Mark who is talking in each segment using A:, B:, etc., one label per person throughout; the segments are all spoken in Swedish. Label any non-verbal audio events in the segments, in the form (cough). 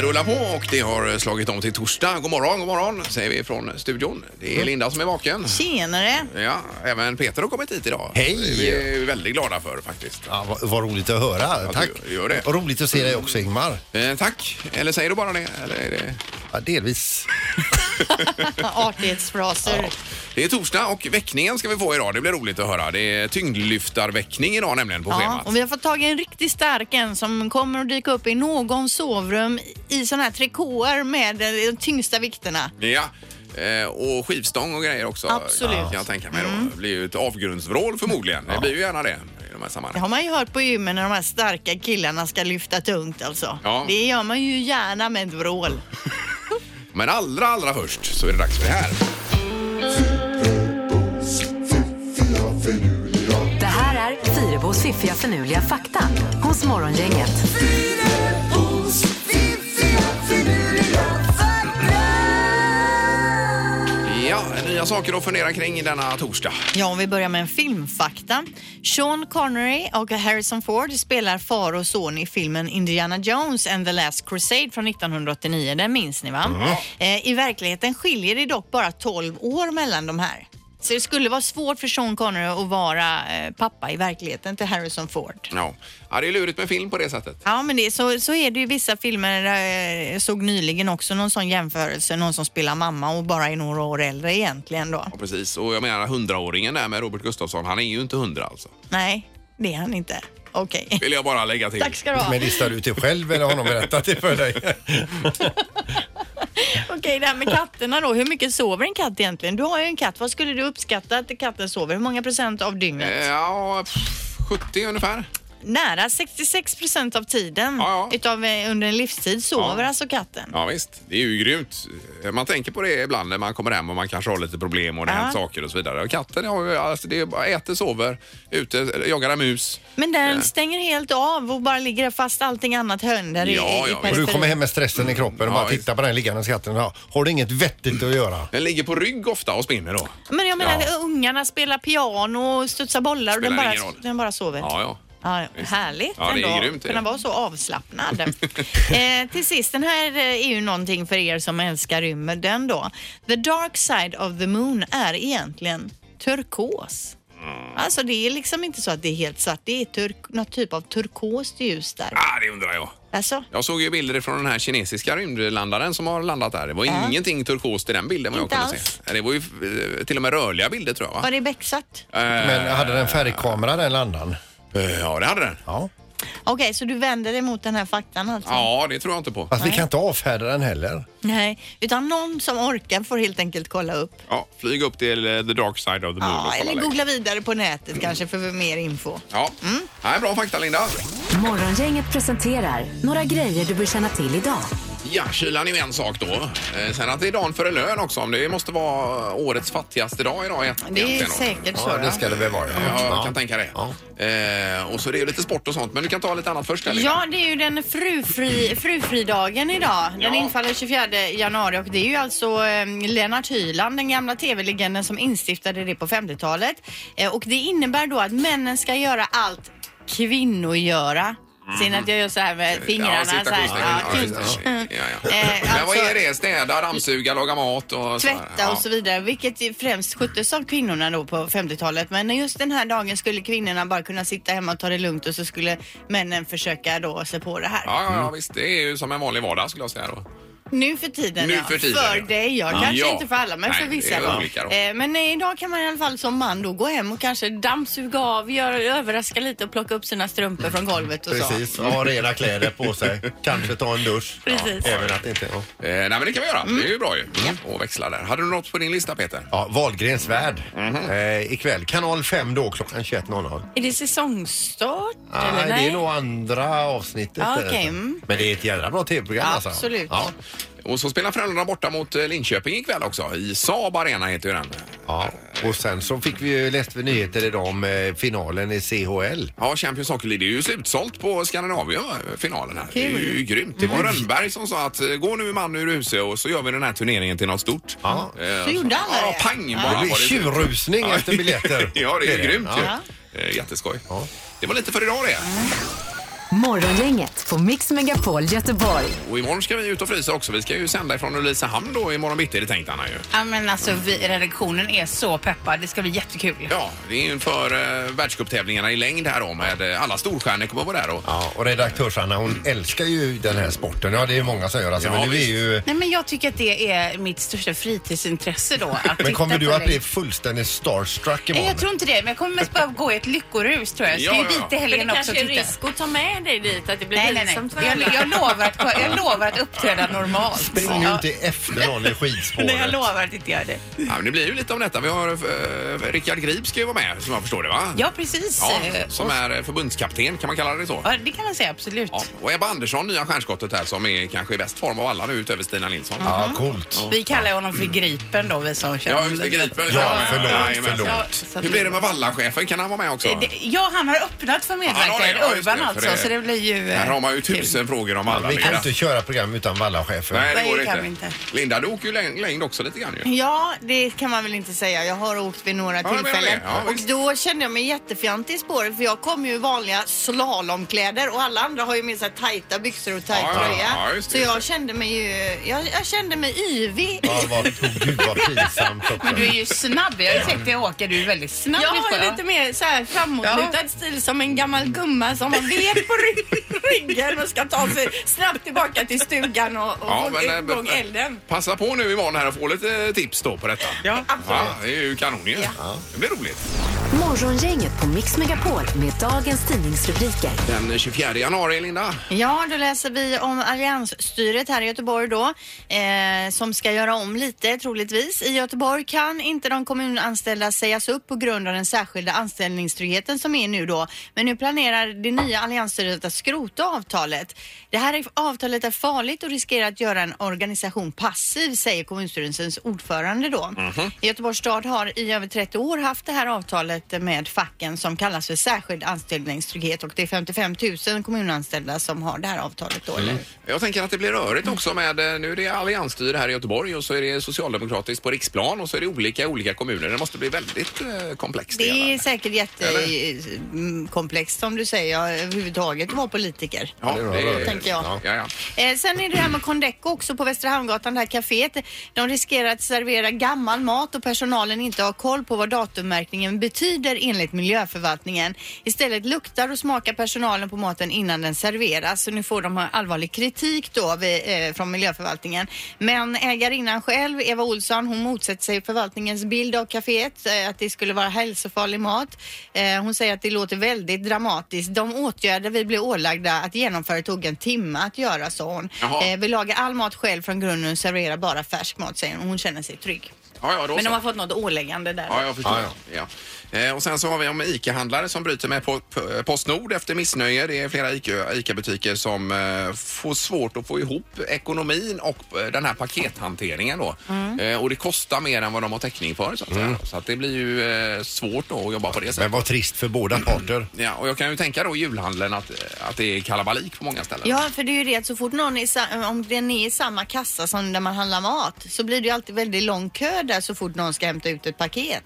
A: rullar på och det har slagit om till torsdag. God morgon, god morgon säger vi från studion. Det är
B: Mm.
A: Linda som är vaken.
B: Tjenare!
A: Ja, även Peter har kommit hit idag.
C: Hej!
A: Vi är väldigt glada för faktiskt.
C: Ja, vad, vad roligt att höra. Tack.
A: du gör det.
C: Och roligt att se dig också Ingmar.
A: Eh, tack, eller säger du bara det? Eller är det...
C: Ja, delvis.
A: (laughs)
B: Artighetsfraser.
A: det är torsdag och väckningen ska vi få idag. Det blir roligt att höra. Det är tyngdlyftarväckning idag nämligen på
B: Ja,
A: schemat.
B: och vi har fått tag i en riktigt stark en som kommer att dyka upp i någon sovrum i sådana här trikåer med eh, de tyngsta vikterna.
A: Ja. eh, Och skivstång och grejer också.
B: Absolut. Mm.
A: Kan jag tänka mig då. Det blir ju ett avgrundsvrål förmodligen. Det blir ju gärna det i de här
B: Det
A: sammanhangen.
B: har man ju hört på gymmen när de här starka killarna ska lyfta tungt alltså.
A: Ja.
B: Det gör man ju gärna med ett vrål.
A: Men allra, allra först så är det dags för det här.
D: Det här är Fyrabos fiffiga förnuliga fakta hos Morgongänget.
A: Ja, nya saker att fundera kring denna torsdag.
B: Ja, om vi börjar med en filmfakta. Sean Connery och Harrison Ford spelar far och son i filmen Indiana Jones and the Last Crusade från 1989. Den minns ni va? Eh, I verkligheten skiljer det dock bara 12 år mellan de här. Så det skulle vara svårt för Sean Connery att vara eh, pappa i verkligheten till Harrison Ford.
A: Ja. ja, det är lurigt med film på det sättet.
B: Ja, men det, så, så är det ju vissa filmer. eh, Jag såg nyligen också någon sån jämförelse, någon som spelar mamma och bara är några år äldre egentligen då.
A: Ja, precis. Och jag menar hundraåringen där med Robert Gustafsson, han är ju inte hundra alltså.
B: Nej, det är han inte. Okej.
A: (laughs) Vill jag bara lägga till.
B: Tack ska du ha.
C: Men listar du ut det själv eller har någon berättat det för dig?
B: Okej, det här med katterna då. Hur mycket sover en katt egentligen? Du har ju en katt. Vad skulle du uppskatta att katten sover? Hur många procent av dygnet?
A: Eh, Ja, pff, 70 ungefär.
B: Nära 66 procent av tiden
A: Ja, ja.
B: Utav, eh, under en livstid sover
A: Ja.
B: alltså katten.
A: Ja, visst. Det är ju grymt. Eh, Man tänker på det ibland när man kommer hem och man kanske har lite problem och det har
B: Ja.
A: hänt saker och så vidare. Och katten har ju, alltså, det är bara äter, sover, ute, eller jagar en mus.
B: Men den
A: Eh.
B: stänger helt av och bara ligger fast allting annat hönder i,
A: Ja, ja,
B: i
A: visst.
B: periferin.
C: Och du kommer hem med stressen i kroppen och
A: Ja,
C: bara
A: visst.
C: tittar på den liggandes katten. Ja, har du inget vettigt att göra?
A: Den ligger på rygg ofta och spinner då.
B: Men jag menar,
C: Ja.
B: ungarna spelar piano och studsar bollar och
A: Spelar
B: den bara,
A: ingen roll.
B: den bara sover.
A: Ja, ja.
B: Ja, ja.
A: Visst.
B: härligt
A: Ja, det är
B: ändå
A: grymt, det är
B: kunna
A: det.
B: vara
A: (laughs)
B: så avslappnad. eh, till sist, den här eh, är ju någonting för er som älskar rymden då. The dark side of the moon är egentligen turkos.
A: Mm.
B: Alltså det är liksom inte så att det är helt svart, det är turk, något typ av turkost ljus där.
A: Ah, det undrar jag.
B: Alltså,
A: Jag såg ju bilder från den här kinesiska rymdlandaren som har landat där. Det var ingenting turkost i den bilden vad jag
B: Inte
A: kunde
B: alls.
A: se. Det var ju eh, till och med rörliga bilder tror jag va?
B: var det becksvart?
C: Men hade den färgkamera den landaren?
A: Eh, Ja, det hade den.
C: Ja.
B: Okej, så du vänder dig mot den här faktan alltså?
A: Ja, det tror jag inte på.
C: Fast vi kan inte avfärda den heller.
B: Nej, utan någon som orkar får helt enkelt kolla upp.
A: Ja, flyg upp till eh, the dark side of the moon och
B: Ja,
A: kolla
B: eller
A: läget.
B: googla Mm. vidare på nätet kanske för mer info.
A: Ja, Nej, bra fakta Linda.
D: Morgongänget presenterar några grejer du bör känna till idag.
A: Ja, kylan är ju en sak då. Eh, Sen att det är dagen före lön också. om Det måste vara årets fattigaste dag idag egentligen.
B: Det är säkert så.
C: Ja, det ska det väl vara.
A: Ja, jag kan tänka det.
C: Ja.
A: Eh, och så det är ju lite sport och sånt, men du kan ta lite annat först. Eller?
B: Ja, det är ju den frufri, frufridagen idag. Den
A: Ja.
B: infaller 24 januari och det är ju alltså eh, Lennart Hyland, den gamla tv-legenden som instiftade det på 50-talet. Eh, och det innebär då att männen ska göra allt kvinnor göra. Sen att jag gör så här med fingrarna.
A: Mhm. Ja, sitta
B: så här,
A: konstigt. Ja,
B: ja, tyst.
A: just det. Ja, ja.
B: (laughs) Eh,
A: Men vad
B: alltså-
A: är det? Städa, dammsuga, laga mat och så här.
B: tvätta och så vidare, vilket ju främst sköttes av kvinnorna då på 50-talet. Men just den här dagen skulle kvinnorna bara kunna sitta hemma och ta det lugnt och så skulle männen försöka då se på det här.
A: Ja, ja, ja, visst. Det är ju som en vanlig vardag skulle jag säga då.
B: Nu för tiden,
A: Nu
B: ja.
A: för tiden,
B: för
A: ja.
B: dig, ja.
A: Ja.
B: Kanske
A: Ja.
B: inte för alla, men
A: Nej,
B: för vissa.
A: det är
B: då.
A: olika då.
B: Eh, men nej, idag kan man i alla fall som man då gå hem och kanske dammsuga av, göra, överraska lite och plocka upp sina strumpor från golvet och så.
E: Precis, ha rena kläder på sig. Kanske ta en dusch.
B: Precis.
E: Även att det inte... Ja.
A: Eh, nej, men det kan vi göra.
B: Mm.
A: Det är ju bra ju. Och växla där. Hade du något på din lista Peter?
E: Ja, Wahlgrens värld eh, ikväll. Kanal 5 då klockan 21.00.
B: Är det säsongstart?
E: Nej,
B: eller
E: det är nog andra avsnittet.
B: Ja,
E: eh,
B: okej, mm.
E: Men det är ett jädra bra tv-program alltså.
B: Absolut.
E: Ja,
A: Och så spelar Frölunda borta mot eh, Linköping ikväll också. I Saab Arena heter ju den.
E: ja. Och sen så fick vi ju, läste vi nyheter idag om eh, finalen i CHL.
A: Ja, Champions Hockey League. Det är ju slutsålt på Skandinavien, eh, finalen här. Det är ju grymt. Det var
B: Mm.
A: Rönnberg som sa att eh, gå nu man ur huset och så gör vi den här turneringen till något stort.
E: Ja.
A: Eh,
B: Så gjorde alla
A: Ja,
B: det.
A: pang bara.
E: Det blir
A: var (laughs)
E: tjurrusning efter biljetter.
A: ja, det är, grymt ju.
E: Ja.
A: Eh, Jätteskoj.
E: Ja.
A: Det var lite för idag det.
D: Morgongänget på Mix Megapol Göteborg.
A: Och imorgon ska vi ut och frysa också. Vi ska ju sända ifrån Ulricehamn då imorgon bitti, det tänkte Anna ju.
B: Ja, men alltså vi, redaktionen är så peppad. Det ska bli jättekul.
A: Ja, det är ju inför eh, världscuptävlingarna i längd här då med eh, alla storstjärnor kommer vara där och
E: Ja, och redaktörs-Anna hon älskar ju den här sporten. Ja, det är många som gör alltså,
A: Ja,
E: men nu är
A: visst.
E: ju...
B: Nej, men jag tycker att det är mitt största fritidsintresse då. Att
E: Men
B: titta
E: kommer
B: på
E: du att
B: dig.
E: bli fullständigt starstruck
B: Nej,
E: imorgon?
B: jag tror inte det, men jag kommer mest bara gå i ett lyckorus tror jag. Ska
A: Ja,
B: ju
A: ja, ja.
B: dit i
F: Men
B: helgen
F: det
B: också och
F: kanske är
B: titta.
F: risk att ta med dig dit, att det blir
B: Nej, nej, nej.
F: pinsamt för
B: Jag,
F: alla.
B: jag, lovar att, jag lovar att uppträda normalt.
E: Spring ju inte efter någon i skidspåret.
B: Nej, jag lovar att inte göra det.
A: ja, men det blir ju lite om detta. Vi har eh, Rickard Grip ska ju vara med som jag förstår det va?
B: Ja, precis.
A: Ja,
B: Eh,
A: som
B: och-
A: är eh, förbundskapten kan man kalla det så.
B: ja, det kan man säga, absolut.
A: Ja, och Ebba Andersson, nya stjärnskottet här som är kanske i bäst form av alla nu utöver Stina Nilsson.
E: Ja,
B: Mm.
E: coolt.
B: Vi kallar honom för Gripen då, vi som känner
A: Ja, just det. Gripen.
E: Ja, förlåt,
A: jajamensan.
E: förlåt.
B: Ja, så att-
A: Hur blir det med Vallachefen? Kan han vara med också?
B: Eh, det- Ja, han har öppnat för
A: Ja, det
B: medverkan
A: har
B: i
A: det, ja, just
B: Urban
A: det, för
B: alltså,
A: det-
B: så det blir ju... eh,
A: Här har man ju
B: kul.
A: tusen frågor om alla.
E: Vi kan ju
A: Linda.
E: inte köra program utan vallachefen.
A: Nej, det
B: Nej,
A: går
B: det kan
A: inte.
B: vi inte.
A: Linda, du åker ju läng- längd också lite grann ju.
G: Ja, det kan man väl inte säga. Jag har åkt vid några
A: jag menar
G: tillfällen.
A: det. Ja,
G: och
A: visst.
G: då kände jag mig jättefjantig i spåret för jag kom ju i vanliga slalomkläder och alla andra har ju med sig tajta byxor och tajt
A: Ja, ja,
G: tröja.
A: ja, just det,
G: så
A: just
G: jag kände mig ju... Jag, jag kände mig yvig.
E: Ja, vad, oh, gud vad pinsamt också.
B: Men du är ju snabb. Jag har ju sett dig åka. Du är väldigt snabb.
F: Jag har
B: Lisbeth.
F: ju lite mer så här framåtlutad stil som en gammal gumma som har ved på
G: (laughs)
F: ry- ryggen och ska ta sig snabbt tillbaka till stugan och, och
A: Ja,
F: få
A: men,
F: igång
A: eh,
F: elden.
A: Passa på nu imorgon här och få lite tips då på detta. Ja, det är ju kanon ju. Det blir roligt.
D: Morgongänget på Mix Megapol med dagens tidningsrubriker.
A: Den 24 januari, Linda.
G: Ja, då läser vi om alliansstyret här i Göteborg då, eh, som ska göra om lite troligtvis. I Göteborg kan inte de kommunanställda sägas upp på grund av den särskilda anställningstryggheten som är nu då. Men nu planerar det nya alliansstyret att skrota avtalet. Det här är- avtalet är farligt och riskerar att göra en organisation passiv, säger kommunstyrelsens ordförande då. Göteborgs stad har i över 30 år haft det här avtalet med facken som kallas för särskild anställningstrygghet och det är 55 000 kommunanställda som har det här avtalet då. eller?
A: Jag tänker att det blir
G: Mm.
A: rörigt också med, eh, nu är det alliansstyre här i Göteborg och så är det socialdemokratiskt på riksplan och så är det olika i olika kommuner. Det måste bli väldigt eh, komplext. hela.
G: Det är säkert jättekomplext som du säger, ja, överhuvudtaget att vara politiker.
A: Ja, det är,
G: tänker jag.
A: Ja, ja.
G: Eh, sen är det här med Condeco också på Västra Hamngatan, det här kaféet. De riskerar att servera gammal mat och personalen inte har koll på vad datummärkningen betyder enligt miljöförvaltningen. Istället luktar och smakar personalen på maten innan den serveras. Så nu får de ha allvarlig kritik då vid, eh, från miljöförvaltningen. Men ägarinnan själv, Eva Olsson, hon motsätter sig förvaltningens bild av kaféet, eh, att det skulle vara hälsofarlig mat. Eh, hon säger att det låter väldigt dramatiskt. De åtgärder vi blev ålagda att genomföra tog en timme att göra, sa hon.
A: Jaha.
G: Eh, vi lagar all mat själv från grunden och serverar bara färsk mat, säger hon. Hon känner sig trygg.
A: Ja, ja, då
G: Men
A: så.
G: de har fått något åläggande där.
A: Ja, jag förstår.
E: Ja,
A: Ja. Eh, och sen så har vi om ICA-handlare som bryter med po- p- Postnord efter missnöje. Det är flera ICA- ICA-butiker som eh, får svårt att få ihop ekonomin och eh, den här pakethanteringen då. Eh, och det kostar mer än vad de har täckning för så att säga. Så att det blir ju eh, svårt då att jobba på det sättet.
E: Mm. Men vad trist för båda parter.
A: Ja, och jag kan ju tänka då i julhandeln att, eh, att det är kalabalik på många ställen.
G: Ja, för det är ju det att så fort någon är sa- eh, om den är i samma kassa som där man handlar mat så blir det ju alltid väldigt lång kö där så fort någon ska hämta ut ett paket.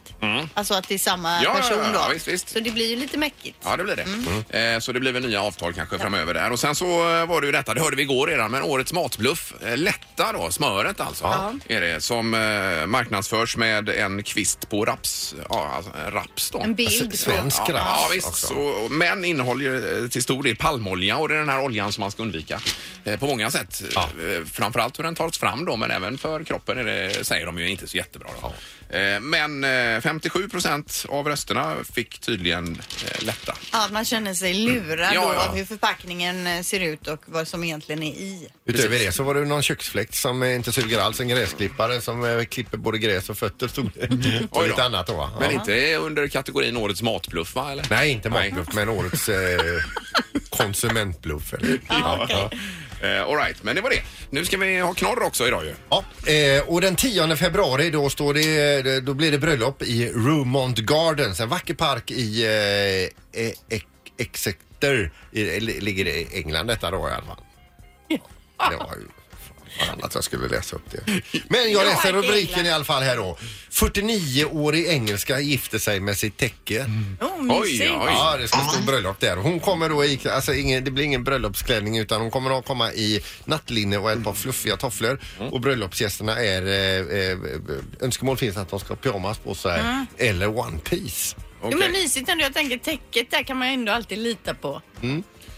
G: Alltså att det är samma
A: Mm. Ja, ja,
G: person
A: ja,
G: då.
A: visst, visst.
G: Så det blir ju lite mäckigt.
A: Ja, det blir det. Eh, så det blir väl nya avtal kanske framöver där. Och sen så eh, var det ju detta, det hörde vi igår redan, men årets matbluff, eh, Lätta då, smöret alltså, är det, som eh, marknadsförs med en kvist på raps. Ja, alltså, eh, raps då.
G: En bild.
E: S- svensk
A: Ja,
E: raps
A: ja, visst.
E: också.
A: Så, men innehåller eh, till stor del palmolja och det är den här oljan som man ska undvika eh, på många sätt. Eh, Framförallt hur den tas fram då, men även för kroppen är det, säger de ju inte så jättebra. Då. Eh, Men eh, 57 procent av rösterna fick tydligen eh, lätta.
G: Ja, att man känner sig lurad
A: Ja,
G: då
A: ja.
G: av hur förpackningen eh, ser ut och vad som egentligen är i.
E: Utöver det så var det någon köksfläkt som eh, inte suger alls, en gräsklippare som eh, klipper både gräs och fötter stod det.
A: Mm. Oj
E: Och
A: då.
E: lite annat då va? Ja.
A: Men inte under kategorin årets matbluff va? Eller?
E: Nej, inte matbluff men
A: (laughs)
E: årets eh, konsumentbluff. Eller? Ja, ja.
A: Eh, all right, men det var det. Nu ska vi ha knorr också idag ju.
E: Ja, eh, och den 10 februari då, står det, eh, då blir det bröllop i Roumont Gardens, en vacker park i eh, eh, Ex- eh, Exeter. I, ligger det i England detta då i alla fall? Ja. Det var ju, fan, Fan att jag skulle läsa upp det. Men jag läser rubriken i alla fall här då. 49-årig engelska gifter sig med sitt täcke.
F: Oh,
A: Oj,
F: mysigt.
A: ja, oj.
E: Ja, det ska stå bröllop där. Hon kommer då i, alltså ingen, det blir ingen bröllopsklänning utan hon kommer att komma i nattlinne och ett par fluffiga tofflor.
A: Mm.
E: Och bröllopsgästerna är, eh, eh, önskemål finns att de ska ha pyjamas på sig
A: Mm.
E: eller one piece.
A: Okej.
F: Jo, men mysigt ändå. Jag tänker täcket där kan man ju ändå alltid lita på.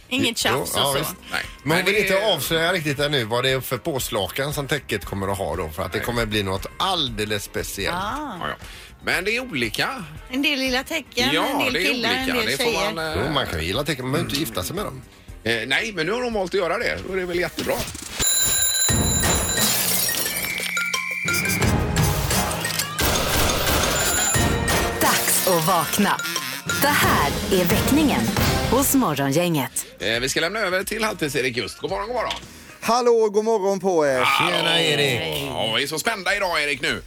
F: Inget
E: Jo,
F: tjafs
E: Mm. ja,
F: och så.
E: visst.
A: Nej.
E: Men hon
A: Men
E: vill
A: det-
E: inte avslöja riktigt ännu vad det är för påslakan som täcket kommer att ha då för att det kommer bli något alldeles speciellt.
A: Ja, ja. Men det är olika.
G: En del lilla tecken, en
A: Ja,
G: del
A: det är
G: killar, en
A: olika.
G: del
A: Det
G: tjejer.
A: får man,
E: Jo,
A: eh,
E: man kan ju gilla tecken, men man behöver inte gifta sig med dem.
A: eh, nej, men nu har de valt att göra det. Då är det väl jättebra.
D: Dags att vakna. Det här är väckningen hos Morgongänget.
A: Eh, vi ska lämna över till Halvtids-Erik just. God morgon, god morgon.
H: Hallå, god morgon på er.
A: Tjena Erik! Ja, vi är så spända idag Erik nu.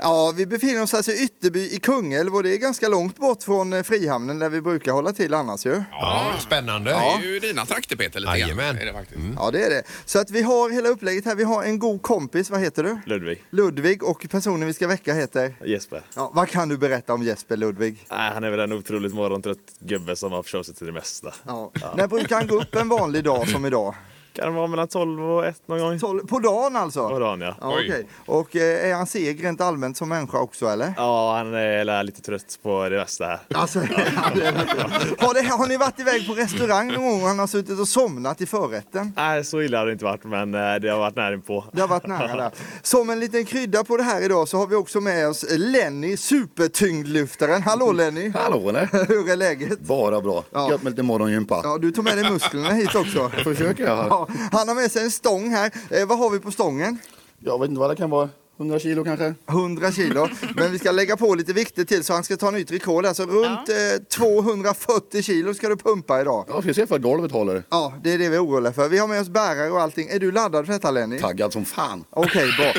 H: Ja, vi befinner oss alltså i Ytterby i Kungälv och det är ganska långt bort från eh, Frihamnen där vi brukar hålla till annars ju.
I: Ja, spännande.
A: Det är ju dina trakter Peter lite grann.
I: Jajamän.
A: Är det faktiskt.
H: Ja, det är det. Så att vi har hela upplägget här. Vi har en god kompis, vad heter du?
J: Ludvig.
H: Ludvig och personen vi ska väcka heter?
J: Jesper.
H: Ja, vad kan du berätta om Jesper Ludvig?
J: Nej, han är väl en otroligt morgontrött gubbe som har förstått sig till det mesta.
H: Ja. När brukar han gå upp en vanlig dag som idag?
J: Kan vara mellan 12 och 1 någon gång.
H: Tolv- På dagen alltså?
J: På dagen, ja.
H: ja
A: Oj.
H: okej. Och eh, är han seg rent allmänt som människa också eller?
J: Ja, han är väl lite trött på det mesta här.
H: Alltså, (laughs) ja, det är mycket. har, det, har ni varit iväg på restaurang någon gång och han har suttit och somnat i förrätten?
J: Nej, så illa har det inte varit, men eh, det har varit nära inpå.
H: Det har varit nära där. Som en liten krydda på det här idag så har vi också med oss Lenny, supertyngdlyftaren. Hallå Lenny!
K: Hallå eller?
H: (laughs) Hur är läget?
K: Bara bra.
H: Ja.
K: Gött med lite morgongympa.
H: Ja, du tog med dig musklerna hit också.
K: Försöker jag. här.
H: Ja, han har med sig en stång här. Eh, vad har vi på stången?
K: Jag vet inte vad det kan vara. 100 kilo kanske?
H: 100 kilo. Men vi ska lägga på lite vikter till så han ska ta nytt rekord. Alltså runt eh, 240 kilo ska du pumpa idag.
K: Ja, vi får se ifall golvet håller.
H: Ja, det är det vi är oroliga för. Vi har med oss bärare och allting. Är du laddad för detta Lenny?
K: Taggad som fan.
H: Okej,
K: (laughs)
H: bra.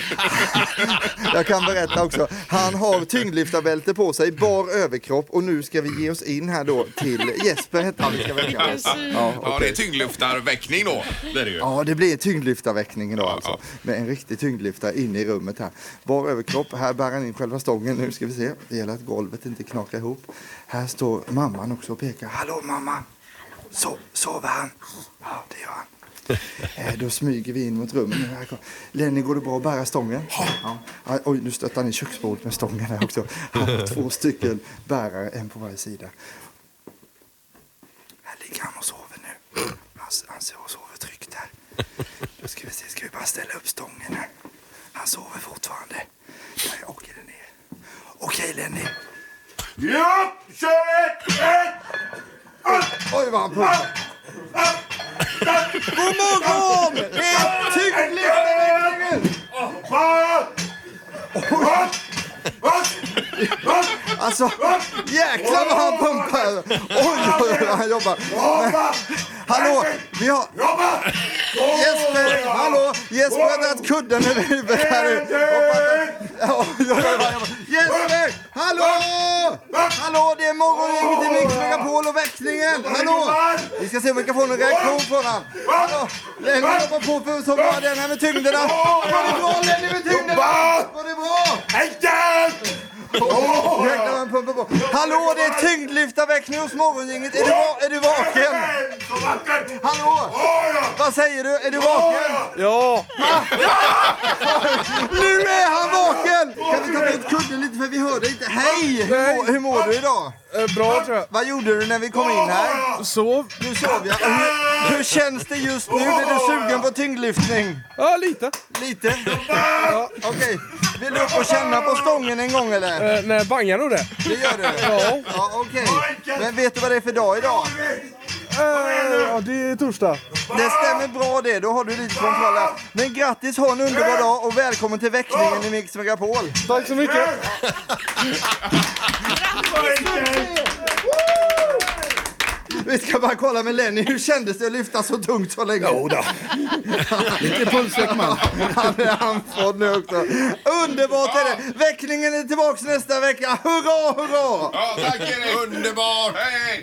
H: Jag kan berätta också. Han har tyngdlyftarbälte på sig, bar överkropp och nu ska vi ge oss in här då till Jesper hette han vi ska väcka. Ja,
A: Ja, det är
H: okej.
A: tyngdlyftarväckning då. Det är det ju.
H: Ja, det blir tyngdlyftarväckning idag alltså. Med en riktig tyngdlyftare inne i rummet här. Bar överkropp, här bär han in själva stången. Nu ska vi se. Det gäller att golvet inte knakar ihop. Här står mamman också och pekar. Hallå mamma! So sover han? Ja, det gör han. Eh, Då smyger vi in mot rummet. Nu, här kommer- Lenny, går det bra att bära stången? Ja. Aj, Oj, nu stöttar han i köksbordet med stången här också. Han har två stycken bärare, en på varje sida. Här ligger han och sover nu. Han, han ser och sover tryggt här. Då ska vi se, ska vi bara ställa upp stången här. Han sover fortfarande. Där åker den ner. Okej Lenny. Oj vad han pumpar. God morgon! Det är tyngdlyftarväckningen! Alltså, jäklar vad han pumpar! Oj, oj, oj, han jobbar. Men, hallå, vi har... Jesper, hallå! Jesper har dragit kudden över huvudet här nu. Ja, ja, ja, ja, ja. Jesper, hallå! Hallå, det är morgongänget i Mix Megapol och växlingen. Hallå! Vi ska se om vi kan få någon reaktion från honom. Hallå! Lenny jobbar på för som bara den här med tyngderna. Var det bra Lenny med tyngderna? Var det bra? Jäklar vad han pumpar på. Hallå, det är tyngdlyftarväckning hos morgongänget. Är du, va- är du vaken? Hallå! Vad säger du? Är du vaken? Ja! (laughs) Nu är han vaken! Kan vi ta bort kudden lite för vi hörde inte. Hej! Hur, mår- hur mår du idag?
J: Eh, Bra tror jag.
H: Vad gjorde du när vi kom in här?
J: Sov?
H: Nu sov jag. Och Hur, hur känns det just nu? Är du sugen på tyngdlyftning?
J: Ja, lite.
H: Lite? Ja, Okej. Vill du upp och känna på stången en gång eller?
J: Eh, Nej, bangar nog det?
H: Det gör du? Ja. ja Okej. Men vet du vad det är för dag idag?
J: Ja, det är torsdag.
H: Det stämmer bra det, då har du lite kontroll här. Men grattis, ha en underbar dag och välkommen till väckningen i Mix Megapol.
J: Tack så mycket.
H: Vi ska bara kolla med Lenny, hur kändes det att lyfta så tungt så länge?
K: Jodå. Lite pulsväck man.
H: Han är andfådd nu också. Underbart är det! Väckningen är tillbaks nästa vecka. Hurra, hurra!
A: Ja, tack Erik! Underbart!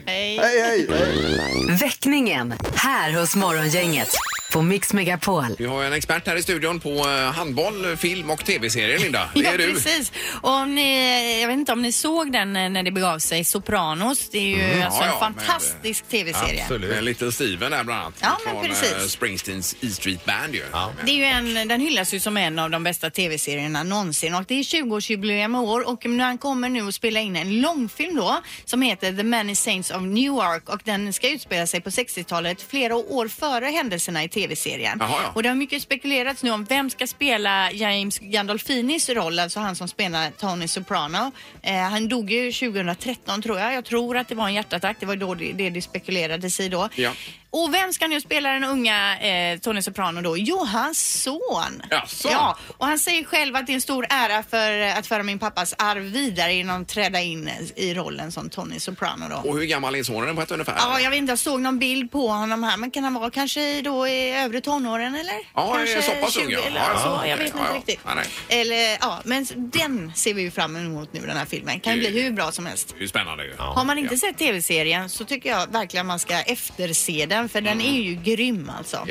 A: Hej!
H: Hej, hej!
D: Väckningen här hos Morgongänget. på Mix Megapol.
A: Vi har ju en expert här i studion på eh, handboll, film och tv-serier, Linda. Det
G: (laughs) Ja,
A: är du.
G: precis. Och om ni, eh, jag vet inte om ni såg den eh, när det begav sig, Sopranos. Det är ju
A: Mm,
G: alltså
A: ja,
G: en
A: ja, men- eh,
G: fantastisk tv-serie.
A: Absolut. Med Little Steven där bland annat.
G: Ja, men
A: från,
G: precis.
A: eh, Springsteens E Street Band ju.
G: Det är ju en, den hyllas ju som en av de bästa tv-serierna någonsin och det är 20-årsjubileum i år och han kommer nu att spela in en långfilm då som heter The Many Saints of Newark och den ska utspela sig på 60-talet flera år före händelserna i tv-serien.
L: Jaha, ja.
G: Och det har mycket spekulerats nu om vem ska spela James Gandolfinis roll, alltså han som spelar Tony Soprano. Eh, han dog ju 2013 tror jag. Jag tror att det var en hjärtattack. Det var då det, det, det spekulerades i då.
A: Ja.
G: Och vem ska nu spela den unga eh, Tony Soprano då? Jo, hans son.
A: Jaså?
G: Ja, och han säger själv att det är en stor ära för eh, att föra min pappas arv vidare genom att träda in eh, i rollen som Tony Soprano då.
A: Och hur gammal är sonen på ett ungefär?
G: Ja, jag vet inte, jag såg någon bild på honom här, men kan han vara kanske då i övre tonåren eller?
A: Ja,
G: kanske
A: är så pass ung
G: 20
A: ja.
G: eller
A: Ja,
G: så,
A: ja,
G: jag vet
A: ja,
G: inte
A: ja.
G: riktigt.
A: Ja, nej.
G: Eller ja, men den ser vi ju fram emot nu den här filmen. Kan ju
A: Mm.
G: bli hur bra som helst.
A: Det är ju spännande ju.
G: Har man inte sett tv-serien så tycker jag verkligen man ska efterse den för den är ju grym alltså.
A: Mm.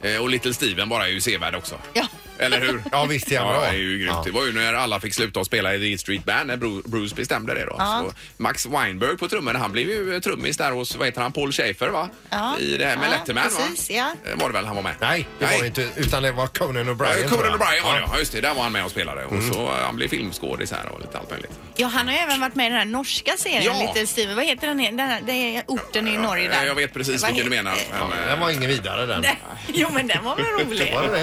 A: Ja. Eh, Och Little Steven bara är ju sevärd också.
G: Ja.
A: Eller hur?
I: (laughs) Ja, visst är han
A: ja,
I: bra.
A: det är ju grymt. Det var ju när alla fick sluta att spela i The E Street Band när Bru- Bruce bestämde det då.
G: Ja.
A: Så Max Weinberg på trummorna, han blev ju eh, trummis där hos, vad heter han, Paul Schaefer va?
G: Ja.
A: I det här med
G: ja,
A: Letterman
G: precis,
A: va?
G: ja.
A: Eh, Var det väl han var med?
I: Nej, det var det inte. Utan det var Conan O'Brien. tror
A: Brian, Conan
I: jag.
A: O'Brien var det ja. Just det, där var han med och spelade. Och så eh, han blev filmskådis här och lite allt möjligt.
G: Ja, han har ju även varit med i den här norska serien
A: Ja.
G: Little Steven. Vad heter den? Den, här, den här orten i Norge
A: Eh,
G: där.
A: Jag vet precis
G: Vad
A: vilken du
G: heter-
A: menar. men, eh,
I: Den var ingen vidare den.
G: (laughs) Jo, men
A: (laughs)
G: den var väl rolig?
I: Var det det?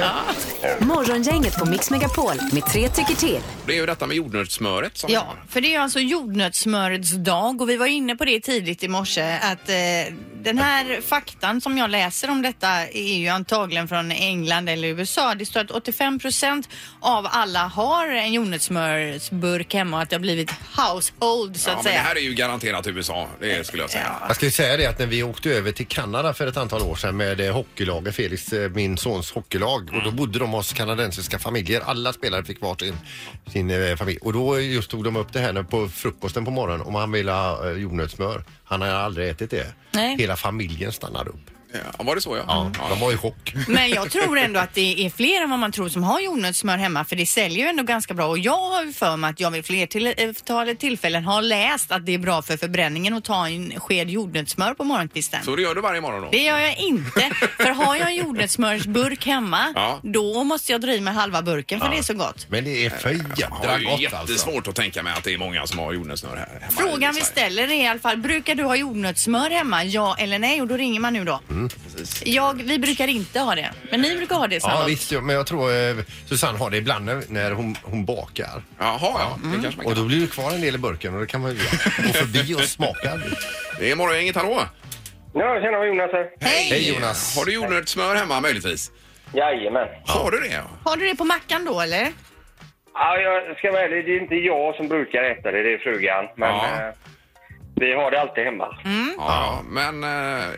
G: Ja.
D: Morgongänget på Mix Megapol med tre tycker till.
A: Det är ju detta med jordnötssmöret som
G: Ja, för det är ju alltså jordnötssmörets dag och vi var inne på det tidigt i morse att eh, den här faktan som jag läser om detta är ju antagligen från England eller USA. Det står att 85 procent av alla har en jordnötssmörsburk hemma och att det har blivit household så
A: ja,
G: att
A: men det
G: säga.
A: här är ju garanterat USA, det skulle jag säga.
I: Ja.
E: Jag ska ju säga det att när vi åkte över till Kanada för ett antal år sedan med eh, hockeylaget, Felix, eh, min sons hockeylag och
G: Mm.
E: då bodde de hos kanadensiska familjer. Alla spelare fick var sin, sin eh, familj och då just tog de upp det här när- på frukosten på morgonen om han ville ha eh, jordnötssmör. Han har aldrig ätit det.
G: Nej.
E: Hela familjen stannade upp.
A: Ja, var det så ja?
E: ja de var i chock.
G: Men jag tror ändå att det är fler än vad man tror som har jordnötssmör hemma för det säljer ju ändå ganska bra och jag har ju för mig att jag vid flertalet tillfällen har läst att det är bra för förbränningen att ta en sked jordnötssmör på morgonkvisten.
A: Så det gör du varje morgon då?
G: Det gör jag inte. För har jag en jordnötssmörsburk hemma,
A: Ja.
G: då måste jag dra i mig halva burken för det är så gott.
E: Men det är för
A: Det
E: jädra
A: är ju
E: gott alltså.
A: jättesvårt att tänka mig att det är många som har jordnötssnurr här. hemma.
G: Frågan vi ställer är i alla fall, brukar du ha jordnötssmör hemma? Ja eller nej? Och då ringer man nu då.
A: Mm,
G: Jag, vi brukar inte ha det, men ni brukar ha det
E: Ja
G: Sanna.
E: visst, ja, men jag tror eh, Susanne har det ibland när, när hon, hon bakar.
A: Jaha, ja. Det kanske man
E: Och då blir det kvar en del i burken och då kan man ju gå förbi och smaka.
A: Det är morgongänget, hallå!
M: Ja, tjena Jonas här.
G: Hej!
E: Jonas!
A: Har du jordnötssmör hemma möjligtvis?
M: Jajamän.
A: Har du det?
G: Har du det på mackan då eller?
M: Ja, jag ska vara ärlig, det är inte jag som brukar äta det, det är frugan. Men
A: Ja. Mm.
M: eh, vi har det alltid hemma.
A: Ja, men eh, eh,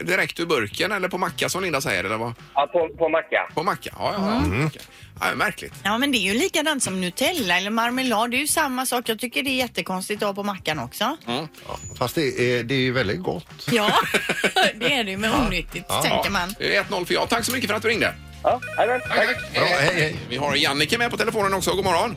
A: direkt ur burken eller på macka som Linda säger? Eller vad?
M: Ja, på, på macka.
A: På macka, ja. ja, ja. Macka. ja märkligt.
G: Ja men det är ju likadant som Nutella eller marmelad. Det är ju samma sak. Jag tycker det är jättekonstigt att ha på mackan också.
E: Ja, fast det är, det är ju väldigt gott.
G: Ja, (laughs) det är det ju men onyttigt
A: Ja.
G: tänker man.
A: Det är 1-0 för jag. Tack så mycket för att du ringde.
M: Ja, jajamän.
A: Tack, tack. Vi har Jannike med på telefonen också. God morgon.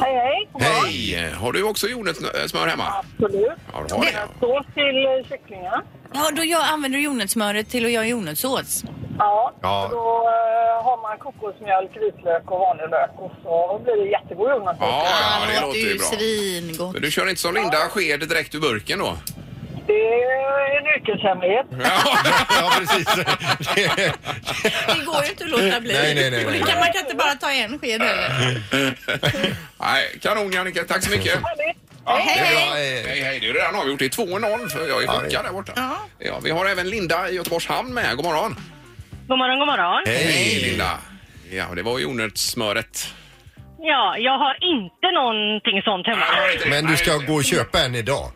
N: Hej, hej.
A: (laughs) Hej! Har du också jordnötssmör hemma?
N: Absolut.
A: Ja, du har det. ja.
N: Sås till eh, kycklingar.
G: Ja, då jag använder du jordnötssmöret till att göra jordnötssås.
N: Ja,
A: Ja.
N: då eh, har man kokosmjölk, vitlök och vanlig lök och så blir det jättegod jordnötssås.
A: Ja, ja, det
G: Det
A: låter
G: är ju
A: ju bra.
G: svingott.
A: Men du kör inte som Linda, sked direkt ur burken (laughs) då?
N: Det är en yrkeshemlighet.
E: Ja, precis.
G: Det går ju inte att låta bli.
A: Nej, nej, nej,
G: Och det
A: nej.
G: kan, man kan inte bara ta en sked heller.
A: Nej, kanon Annika, tack så (laughs) mycket.
G: Hej,
A: det är
G: hej.
A: bra. hej, hej. Det är ju redan avgjort. Det är 2-0 för jag är chockad där borta. Ja. vi har även Linda i Göteborgs hamn med. God morgon.
N: God morgon, god morgon.
A: Hej Linda. Ja, det var ju onödigt smöret.
L: Ja, jag har inte någonting sånt hemma.
E: Men du ska gå och köpa en idag.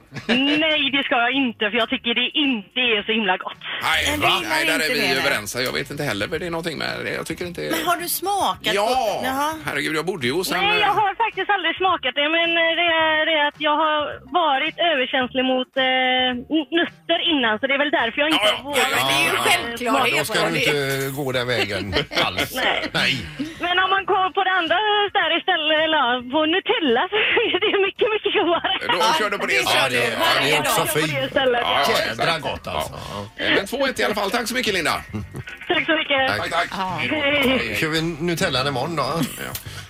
L: Nej, det ska jag inte för jag tycker det inte är så himla gott.
A: Nej,
G: det
A: va?
G: gillar
A: Nej där
G: inte
A: är vi
G: det, nej.
A: överens. Jag vet inte heller vad det är någonting med det. Jag tycker inte...
G: Men har du smakat?
A: Ja!
G: på- Jaha.
A: Herregud, jag bodde ju hos en...
L: Nej, jag har faktiskt aldrig smakat det men eh, det är det är att jag har varit överkänslig mot eh, n- nötter innan så det är väl därför jag inte har vågat.
E: men det är ju
L: eh,
E: Ja, då ska du inte gå den vägen alls.
L: Nej.
E: Nej.
L: Men om man går på det andra där istället, eller ja, på Nutella, så är det mycket, mycket godare.
A: Då kör du på det
E: Ja, det, ja, det är också
L: På det
E: fint.
L: istället.
A: Ja, ja,
E: Jädra
A: exakt.
E: gott alltså.
A: Ja. Men 2-1 i alla fall. Tack så mycket Linda.
L: Tack så mycket.
A: Tack, tack.
L: Hej.
E: Kör vi Nutellan imorgon då?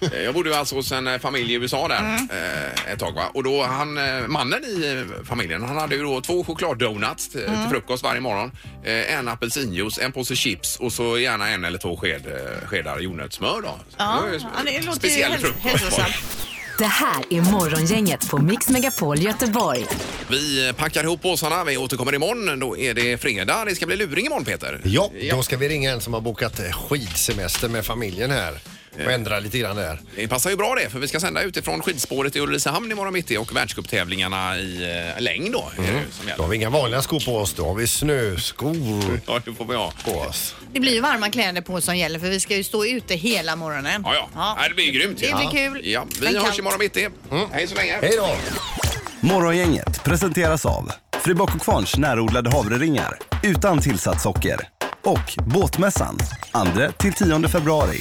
A: Eh, Jag bodde ju alltså hos en eh, familj i USA där
G: Mm.
A: eh, ett tag va? Och då han, eh, mannen i eh, familjen, han hade ju då två chokladdonuts till,
G: Mm.
A: till frukost varje morgon. Eh, En apelsinjuice, en påse chips och så gärna en eller två sked, eh, skedar jordnötssmör då.
G: Ja,
A: Det var ju
G: ja, det låter ju
A: speciell
G: häls-
A: frukost.
G: hälsosamt.
D: Det här är Morgongänget på Mix Megapol Göteborg.
A: Vi packar ihop påsarna. Vi återkommer imorgon. Då är det fredag. Det ska bli luring imorgon, Peter.
E: Ja, då ska vi ringa en som har bokat eh, skidsemester med familjen här och ändra lite grann där.
A: Det passar ju bra det, för vi ska sända utifrån skidspåret i Ulricehamn imorgon mitt i och världscuptävlingarna i eh, längd då. är det ju som
E: Då
A: gäller.
E: har vi inga vanliga skor på oss, då har vi snöskor
A: Ja, det får vi ha.
E: på oss.
G: Det blir ju varma kläder på som gäller för vi ska ju stå ute hela morgonen.
A: Ja, ja. Nej, det blir grymt.
G: Det
A: ja.
G: blir kul.
A: Ja. Vi
G: Men
A: hörs
G: kallt.
A: imorgon mitt i. Hej så länge.
E: Hej då!
C: Morgongänget presenteras av Fribock och Kvarns närodlade havreringar utan tillsatt socker och Båtmässan 2-10 februari.